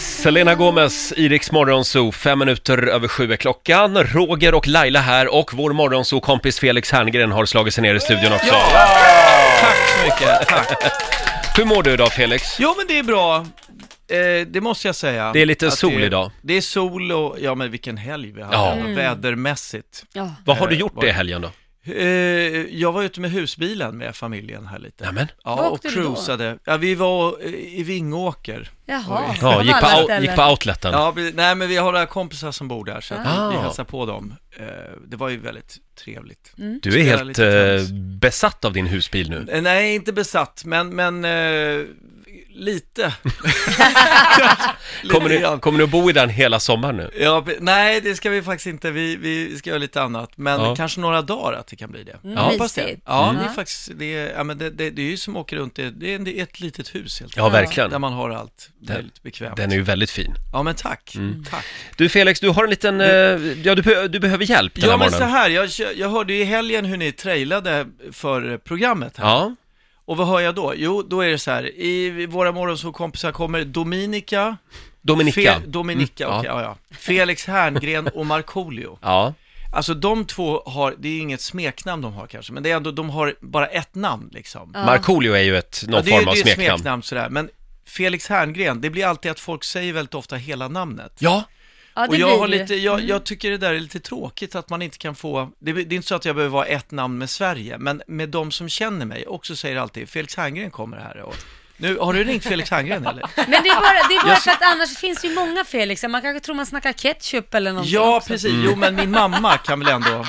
Selena Gomez, Iriks morgonzoo, fem minuter över sju är klockan. Roger och Laila här och vår morgonzoo-kompis Felix Herngren har slagit sig ner i studion också. Tack så mycket, tack. Hur mår du idag Felix? Jo men det är bra, eh, det måste jag säga. Det är lite Att sol det, idag. Det är sol och, ja men vilken helg vi hade, Ja. Mm. vädermässigt. Ja. Vad har du Eh, gjort vad- det i helgen då? Eh, jag var ute med husbilen med familjen här lite. Nämen. Vad Ja, och åkte du då? cruisade. Ja, vi var eh, i Vingåker. Jaha, Ja, av gick på, alla out, ställen. gick på outleten. Ja, vi, nej men vi har några kompisar som bor där så att Ah. vi, vi hälsade på dem. Eh, det var ju väldigt trevligt. Mm. Du är Spela helt lite eh, tennis. besatt av din husbil nu. Eh, Nej, inte besatt, men, men eh, lite. Lite Kommer du, grann. kommer du att bo i den hela sommaren nu? Ja, be- nej, det ska vi faktiskt inte. Vi, vi ska göra lite annat, men Ja. kanske några dagar att det kan bli det. Mm, Ja. Jag mysigt. hoppas det. Ja, Mm. det är faktiskt, det är, ja, men det, det, det är ju som åker runt, det, det, är, det är ett litet hus helt Ja, enkelt. Där verkligen. man har allt Den- väldigt bekvämt. Den är ju väldigt fin. Ja, men tack. Mm. Tack. Du Felix, du har en liten, eh, ja du, be- du behöver hjälp den Ja, här men så morgonen. här, jag, jag hörde ju i helgen hur ni trailade för programmet här. Ja, Och vad hör jag då? Jo, då är det så här, i våra morgonsovkompisar kommer Dominika, Dominika. Fe- Dominika Mm, okej, ja. ja. Felix Herngren och Markoolio. Ja, Alltså de två har, det är inget smeknamn de har kanske, men det är ändå, de har bara ett namn liksom. Ja. Markoolio är ju ett, någon Ja, det är form ju av det är ett smeknamn. smeknamn sådär, men Felix Herngren, det blir alltid att folk säger väldigt ofta hela namnet. Ja, Ja, det Och jag, blir har ju- Mm. lite, jag, jag tycker det där är lite tråkigt att man inte kan få, det, det är inte så att jag behöver vara ett namn med Sverige, men med de som känner mig också säger alltid Felix Herngren kommer här. Och, nu, har du ringt Felix Herngren eller? Men det är bara, det är bara för att annars finns det ju många Felix. Man kanske tror man snackar ketchup eller någonting Ja, också. Mm. precis. Jo, men min mamma kan väl ändå,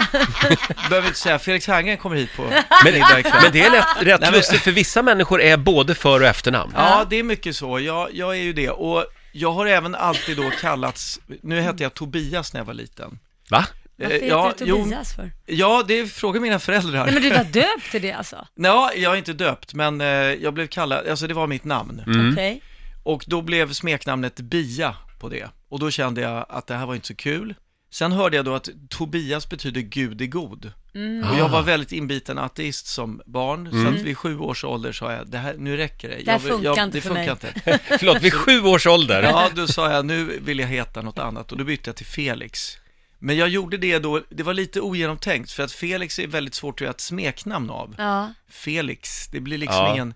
behöver inte säga, Felix Herngren kommer hit på middag ikväll. men det är rätt, rätt men- lustigt för vissa människor är både för och efternamn. Ja, det är mycket så. Jag, jag är ju det. Och jag har även alltid då kallats, nu hette jag Tobias när jag var liten. Va? Eh, Varför heter ja, du jo, Tobias för? Ja, det frågar mina föräldrar. Nej men du var döpt till det alltså? Ja, jag är inte döpt, men eh, jag blev kallad, alltså det var mitt namn. Mm. Mm. Okej. Och då blev smeknamnet Bia på det. Och då kände jag att det här var inte så kul. Sen hörde jag då att Tobias betyder Gud är god. Mm. Och jag var väldigt inbiten ateist som barn, så att vid sju års ålder sa jag, det här, nu räcker det. Det här Jag vill- jag, funkar inte det för funkar mig. inte. Förlåt, vid sju års ålder. Ja, då sa jag, nu vill jag heta något annat och då bytte jag till Felix. Men jag gjorde det då, det var lite ogenomtänkt, för att Felix är väldigt svårt att göra ett smeknamn av. Ja. Felix, det blir liksom Ja. ingen...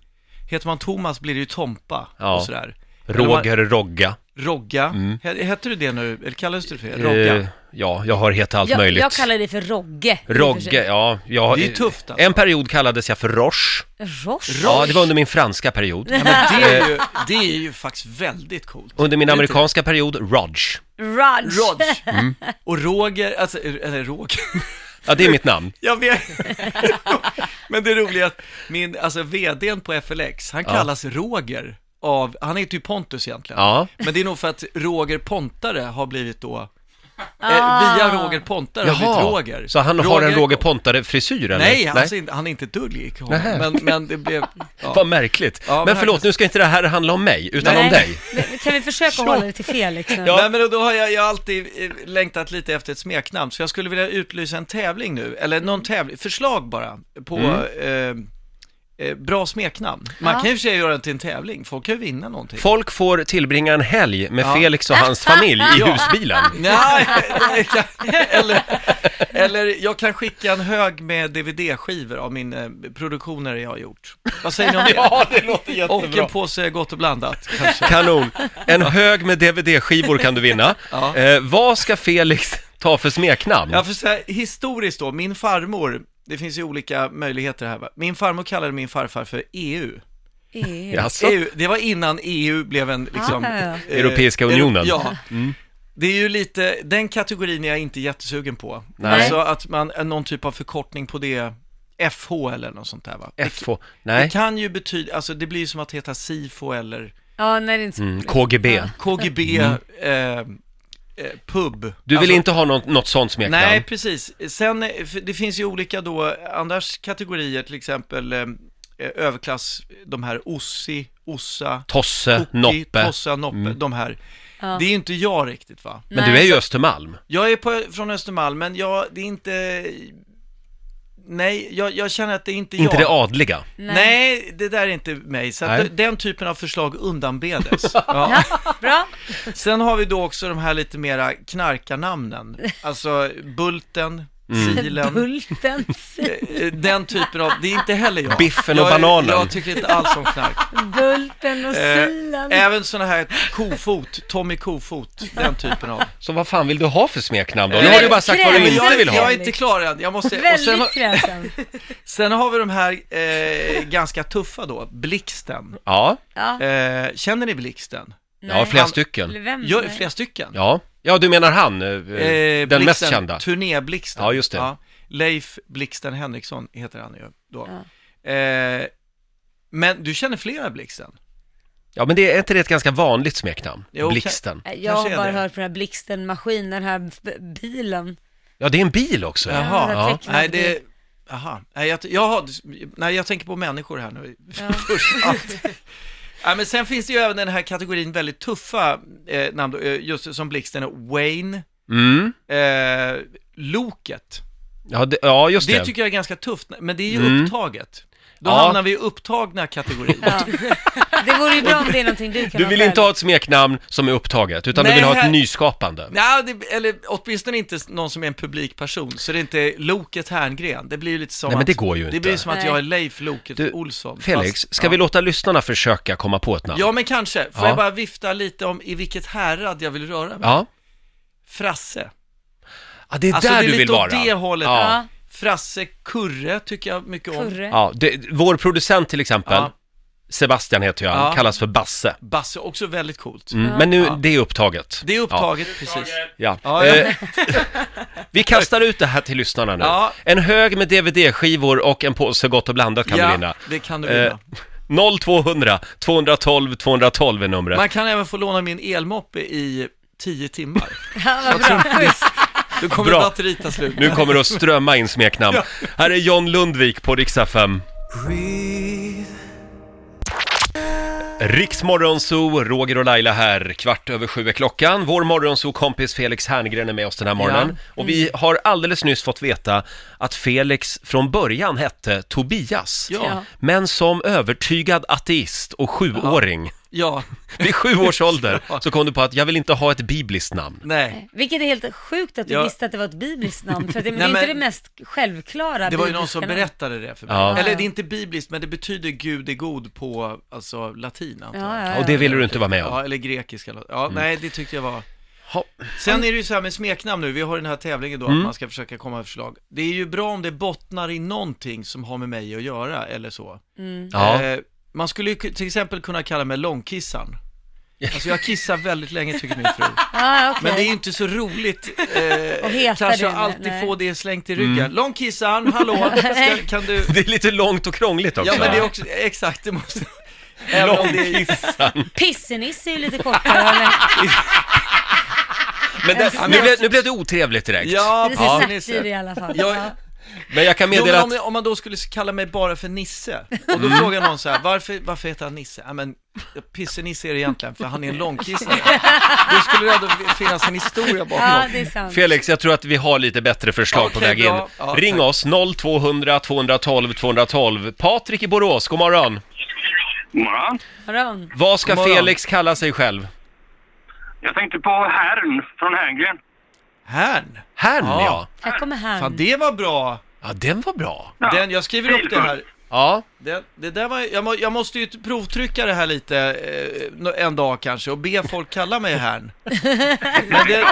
Heter man Thomas blir det ju Tompa Ja. och sådär. Roger Rogga. Rogga. He- Hette du det nu, eller kallades du för det? Eh, Rogga. ja, jag har hetat allt Jag, möjligt. jag kallar det för Rogge. i och för Rogge, sig. ja. Jag, har- Det är ju tufft, alltså. En period kallades jag för Roche. Roche? Ja, det var under min franska period. Ja, men det, är ju, det är ju faktiskt väldigt coolt. Under min Är typ det amerikanska period, Rodge. Rudge. inte? Rods. Mm. Och Roger, alltså, eller Roger, Ja, det är mitt namn. jag vet. Men det roliga är att min, alltså vdn på FLX, han kallas Roger av, han heter ju typ Pontus egentligen. Ja. Men det är nog för att Roger Pontare har blivit då, eh, Ah. via Roger Pontare har blivit Roger. så han har en Roger Pontare? Pontare-frisyr eller? Nej, han, ser inte- han är inte ett dugg lik honom. Nähä. Men, men det blev... Ja. Vad märkligt. Ja, men men här- förlåt, nu ska inte det här handla om mig, utan Nej. om dig. Men Kan vi försöka hålla det till liksom? Felix nu? Nej, men då har jag, jag har alltid eh, längtat lite efter ett smeknamn, så jag skulle vilja utlysa en tävling nu, eller någon tävling, förslag bara, på eh, eh, bra smeknamn. Man Ja. kan ju i och för sig göra det till en tävling, folk kan ju vinna någonting. Folk får tillbringa en helg med Ja. Felix och hans familj i husbilen. Nej, nej, jag- eller, eller jag kan skicka en hög med DVD-skivor av min eh, produktioner jag har gjort. Vad säger ni om det? det låter Och en påse gott och blandat, kanske. Kanon. En hög med DVD-skivor kan du vinna. Ja. Eh, vad ska Felix ta för smeknamn? Ja, för så här, historiskt då, min farmor, det finns ju olika möjligheter här va? Min farmor kallade min farfar för E EU. EU. Jaså? EU E det var innan EU blev en liksom... Ah, ja. Mm. eh, Europeiska Euro- unionen. Ja. Det är ju lite, den kategorin är jag inte jättesugen på. Nej. Alltså att man, någon typ av förkortning på det, FH eller något sånt där va? Det- FH? Det Nej, kan ju betyda, alltså det blir ju som att heta SIFO eller Ja, nej det är inte så. Mm, KGB. KGB, eh, eh, PUB. Mm. Du vill Alltså- inte ha något, något sånt smeknamn? Nej, precis. Sen, eh, för det finns ju olika då, annars kategorier, till exempel eh, eh, överklass, de här Ossi, Ossa, Tosse, Toki, Eh, Noppe. Mm. Tossa, Noppe, de här. Ja. Det är ju inte jag riktigt va? Men du är ju Östermalm. Jag är på, från Östermalm, men jag, det är inte... nej, jag, jag känner att det är inte jag. Inte det adliga. Nej. det där är inte mig. Så att Nej. d- den typen av förslag undanbedes. Ja. Bra. Sen har vi då också de här lite mera knarkarnamnen. Alltså Bulten, Mm. Silen. Bulten. eh, den typen av, det är inte heller jag. Biffen och jag, är- bananen. Jag tycker inte alls om knark. Bulten och Eh, silen. även sådana här Kofot, Tommy Kofot, den typen av. Så vad fan vill du ha för smeknamn då? Nu Eh, har du bara sagt vad kräm. du Men inte jag, vill jag ha. är inte klar än, jag måste... Och sen, Väldigt kräsen. sen har vi de här eh, ganska tuffa då, Blixten. Ja, Ja. Eh, känner ni Blixten? ja flera stycken. Vem? Gör flera stycken? Ja. ja, du menar han, eh, den Blixten, mest kända. Turnéblixten. Ja, just det. Leif Blixten Henriksson heter han ju då. Eh, men du känner flera Blixten? Ja, men det är inte det ett ganska vanligt smeknamn? Jo, kan- Blixten. Äh, Jag Kanske har är bara det. hört på den här blixtenmaskinen, den här b- bilen. Ja, det är en bil också. Jaha. Den här Ja. tecknade Nej, det... bilen. Aha. Nej, jag, jaha, du- nej, jag tänker på människor här nu. Först. Ja. Nej, men sen finns det ju även den här kategorin väldigt tuffa eh, namn, då, eh, just som Blixten och Wayne, Mm. eh, Loket. Ja, det, ja, just Det det. tycker jag är ganska tufft, men det är ju Mm. upptaget. Då Ja. hamnar vi i upptagna kategorin. Ja. Det vore ju bra om det är någonting du kan Du vill själv. inte ha ett smeknamn som är upptaget, utan du Nej, vill ha ett här- nyskapande. Nej, det, eller åtminstone inte någon som är en publikperson, så det är inte Loket Herngren. Det blir ju lite som Nej, men att, det går ju Det inte. blir ju som att Nej. jag är Leif Loket Du, Olsson. Felix, fast- ska vi låta lyssnarna försöka komma på ett namn? Ja, men kanske. Får Ja. jag bara vifta lite om i vilket härad jag vill röra mig? Ja, Frasse. ja det är Alltså, där du det är lite vill åt vara. det hållet. Ja. Ja, Frasse Kurre tycker jag mycket om. kurre. Ja, det, vår producent till exempel, Ja. Sebastian heter ju han, Ja. kallas för Basse. Basse, också väldigt coolt. Mm. Men nu, det är upptaget. Det är upptaget, precis. Ja. Ja, Eh, ja. vi kastar ut det här till lyssnarna nu. Ja. En hög med DVD-skivor och en påse gott och blandat kan du vinna. ja, det kan du Eh, vinna. 0200 212 212 är numret. Man kan även få låna min elmoppe i tio timmar. Ja, vad bra. Schysst. Då kommer Bra. batteriet ta slut. Nu kommer det att strömma in smeknamn. Här är John Lundvik på Riksa 5. Riksmorgonzoo, Roger och Laila här. Kvart över sju är klockan. Vår morgonzoo-kompis Felix Herngren är med oss den här morgonen. Och vi har alldeles nyss fått veta att Felix från början hette Tobias. Ja, Ja. Men som övertygad ateist och sjuåring, ja, vid sju års ålder, så kom du på att jag vill inte ha ett bibliskt namn. nej. Vilket är helt sjukt att du Ja. visste att det var ett bibliskt namn, för det, men det Nej, är inte men- det mest självklara Det var ju någon bibliska som namnet. berättade det för mig. Ja. Eller det är inte bibliskt, men det betyder Gud är god på alltså, latin, antar jag. Ja, ja, ja. Och det ville du inte vara med om. Mm. Ja, eller grekiska låt. Ja, nej, det tyckte jag var... Ha. Mm. Sen är det ju så här med smeknamn nu, vi har den här tävlingen då, att man ska försöka komma med förslag. Det är ju bra om det bottnar i någonting som har med mig att göra, eller så. Ja. Eh, man skulle ju k- till exempel kunna kalla mig långkissan. Alltså jag kissar väldigt länge tycker min fru. Ja, ja, Ah, okej. Men det är ju inte så roligt. Eh, Och heta kanske jag det, alltid nej. få det slängt i ryggen. Långkissan, hallå, ska, kan du... Det är lite långt och krångligt också. Ja men det är också, exakt, det måste... Även om det är... Pissenisse är ju lite kortare, eller? Men det, Ja, men- nu, blev, nu blev det otrevligt direkt. Ja, Det är precis. snärtigt i alla fall. Jag- Ja. Men jag kan Jo, meddela men om, att... om man då skulle kalla mig bara för Nisse, och då frågar någon så här, varför, varför heter han Nisse? Ja, men Pisse-Nisse är det egentligen, för han är en långkissare. Då skulle det ändå finnas en historia bakom. ja, det är sant. Felix, jag tror att vi har lite bättre förslag på Okej, väg in. bra. Ja, Ring tack. oss, 0200 212 212. Patrik i Borås, god morgon. God morgon. Morgon. Vad ska God morgon. Felix kalla sig själv? Jag tänkte på Härn från Herngren. Härn, Härn, ja. Ja. ja. Här kommer han. fan det var bra. den var bra. Ja. Den, jag skriver upp det här. Ja, Det, det där var, jag, må, jag måste ju provtrycka det här lite eh, nå- en dag kanske och be folk kalla mig Härn. Men det,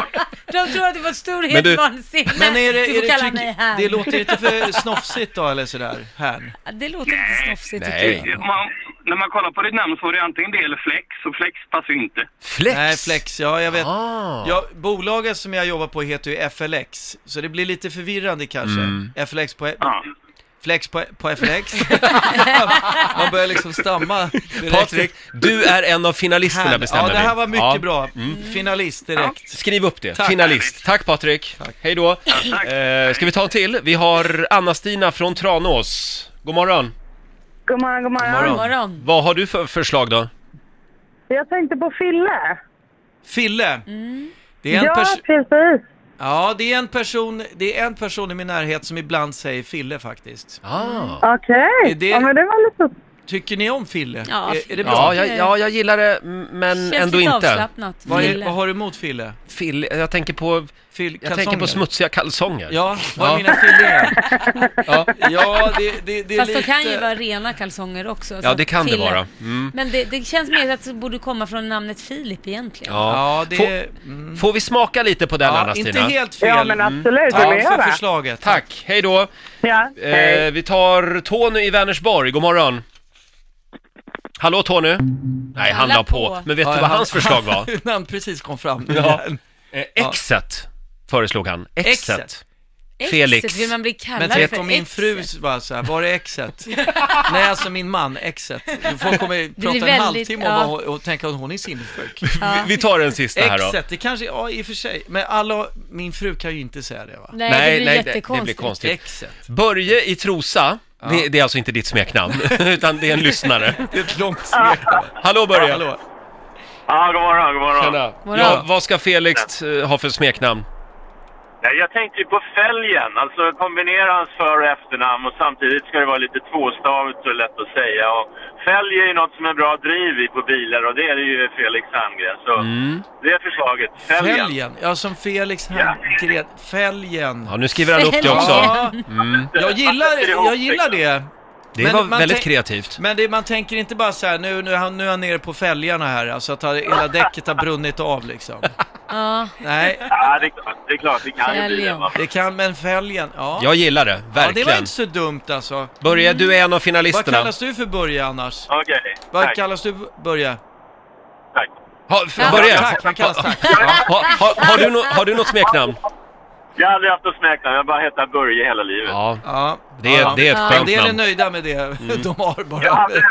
De tror att du Men fått du- storhetsvansinne. men är det, du är får det, kalla tyck- mig här. det låter lite för snofsigt då eller sådär, Härn. det låter lite snofsigt Nej. tycker jag. Man, när man kollar på ditt namn så var det antingen det eller Flex, och Flex passar ju inte. flex. Nej, Flex, ja jag vet. Ah. Ja, bolaget som jag jobbar på heter ju FLX, så det blir lite förvirrande kanske. Mm. FLX på... Ja. Flex på, på FLX. Man börjar liksom stamma direkt. Patrik, du är en av finalisterna Här- bestämmer Ja, det här var vi. mycket Ja. Mm. bra. Finalist direkt. Skriv upp det, Tack. finalist. Tack Patrik. Hej då. tack. Eh, ska vi ta en till? Vi har Anna-Stina från Tranås. God morgon. God morgon, god morgon. Morgon. Morgon. Vad har du för förslag då? Jag tänkte på Fille. Fille. Det är en Mm. ja, pers- precis. Ja, det är, en person, det är en person i min närhet som ibland säger Fille faktiskt. Ah. Okej, Är det- ja men det var lite... Tycker ni om Fille? Ja. Är, är det Ja, bra? jag, ja, jag gillar det, m- men Känns ändå lite inte. avslappnat. Vad, är, Fille. vad har du emot Fille? Fil, jag tänker på, Fill, jag tänker på smutsiga kalsonger. Ja, vad är Ja. mina fillingar? ja, ja det, det, det är Fast lite... de kan ju vara rena kalsonger också. så ja det att kan det Fille- vara. Mm. Men det, det känns mer att det borde komma från namnet Filip egentligen. Ja. Ja, det Får, är... Mm. får vi smaka lite på den Ja, annars, inte Tina? helt fel. Ja men absolut, det vill Tack jag för göra. förslaget. Tack, hej då. Ja, hej. Eh, vi tar Tony i Vänersborg, god morgon. Hallå Tony? Nej, han la la på. på. Men vet Ja, du vad hans förslag var? När han precis kom fram. Ja. Eh, Exet föreslog han. Exet. Exet. Felix. Exet vill man bli kallad Men tänk för om min Exet. fru var så här, var är exet? Nej, alltså min man, exet. Folk kommer prata en väldigt- halvtimme om ja. vad hon, och tänka att hon är sinnessjuk. Ja. Vi, vi tar den sista här då. Exet, det kanske, ja i och för sig. Men alla, min fru kan ju inte säga det va? Nej, Nej, det blir nej, det- det blir jättekonstigt. konstigt. Exet. Börje i Trosa, det, det är alltså inte ditt smeknamn, utan det är en lyssnare. Det är ett långt smeknamn. Hallå Börje! Hallå. Ja, god morgon, god morgon. Tjena. Morgon. Ja, vad ska Felix eh, ha för smeknamn? Nej, Jag tänkte ju på fälgen, alltså kombinera hans för och efternamn och samtidigt ska det vara lite tvåstavigt och lätt att säga. Och fälg är ju något som är bra driv i på bilar och det är det ju Felix Herngren. Så det är förslaget, fälgen. Mm. Fälgen. Ja, som Felix Herngren. Fälgen. Ja, nu skriver han upp det också. Ja, jag gillar, jag liksom. gillar det. Det Men var man väldigt tänk- kreativt. Men det, man tänker inte bara så här, nu, nu, är han- nu är han nere på fälgarna här, alltså att han- hela däcket har brunnit av liksom. Ja, Nej, Ja, det är klart, det, är klart, det kan ju bli det. Fälgen. va. det kan, men fälgen, ja. Jag gillar det, ja, det var verkligen. inte så dumt alltså. Börje, du är en av Vad finalisterna. kallas du för Börje annars? Okej, Vad tack. kallas du Börje? tack. Ha, f- Ja. Börje, Tack, han kallas Tack. ha, ha, har, du no, har du något smeknamn? Jag har aldrig haft något smeknamn, jag har bara hetat Börje hela livet. Ja, Ja. det är, det är ett Ja. En skönt del är namn. Mm. nöjda med det de har Jag bara. hade,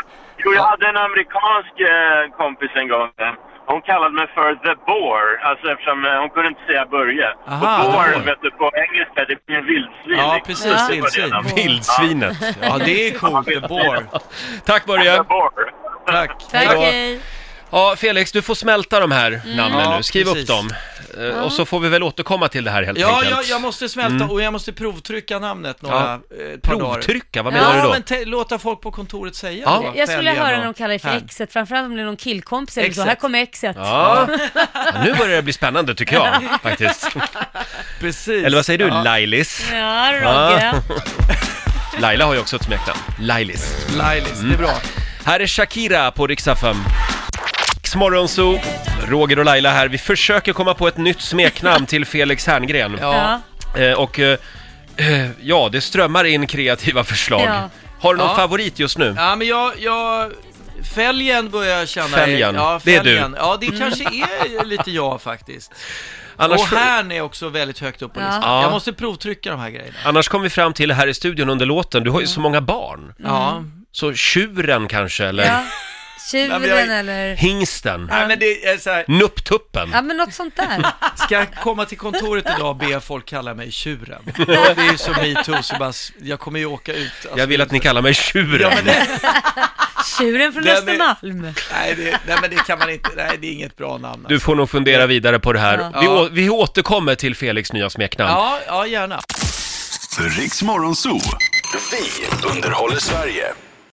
jo, jag hade en amerikansk eh, kompis en gång. eh, Hon kallade mig för The Boar, alltså eftersom eh, hon kunde inte säga Börje. Aha, och The Boar, Boar. vet du, på engelska, det blir en vildsvin. Ja, liksom. precis, Det var det vildsvin. namnet. Vildsvinet. Ja, det är coolt. The Boar. Tack The Börje! Boar. Tack. tack Ja. hej. Ja, Felix, du får smälta de här namnen Mm. Ja, nu. Skriv upp precis. dem. Eh, Och så får vi väl återkomma till det här helt Ja, enkelt. jag, jag måste smälta Mm. och jag måste provtrycka namnet några eh, ett par dagar. Provtrycka, vad Ja, menar Ja, du då? men te- låta folk på kontoret säga Ja. Jag då. Jag skulle Fälgen vilja höra och när de kallar dig för här. Exet, framförallt om det är någon killkompis eller så. Exet. Här kommer Exet. Ja. ja, nu börjar det bli spännande tycker jag faktiskt. Precis. Eller vad säger du, Ja. Lailis? Ja, Roger. Laila har ju också ett smeknamn. Lailis. Lailis, det är bra. Här är Shakira på Riksa 5. Morgonzoo, Roger och Laila här. Vi försöker komma på ett nytt smeknamn till Felix Herngren. Ja. Ja. Eh, och eh, eh, ja, det strömmar in kreativa förslag. Ja. Har du någon Ja. favorit just nu? Ja, men jag, jag... Fälgen börjar jag känna. Fälgen, Ja, det är fälgen. Ja, det Mm. kanske är lite jag faktiskt. Annars, och härn är också väldigt högt upp på Ja. listan. Ja. Jag måste provtrycka de här grejerna. annars kom vi fram till här i studion under låten, du har ju så många barn. Ja. Så tjuren kanske, eller ja. Nej, men jag- Tjuren eller... hingsten, Nej, men det är så här, nupptuppen. Ja, men något sånt där. ska jag komma till kontoret idag och be folk kalla mig tjuren? Det är ju som metoo, så bara, jag kommer ju åka ut. Alltså, Jag vill att ni kallar mig tjuren. Ja, men det, Tjuren från Nej, men- Östermalm. nej, det, nej, men det kan man inte. Nej, det är inget bra namn. Du får nog fundera vidare på det här. Ja. Vi, Ja. å- vi återkommer till Felix nya smeknamn. Ja, ja, gärna. Riks Morgonzoo. Vi underhåller Sverige.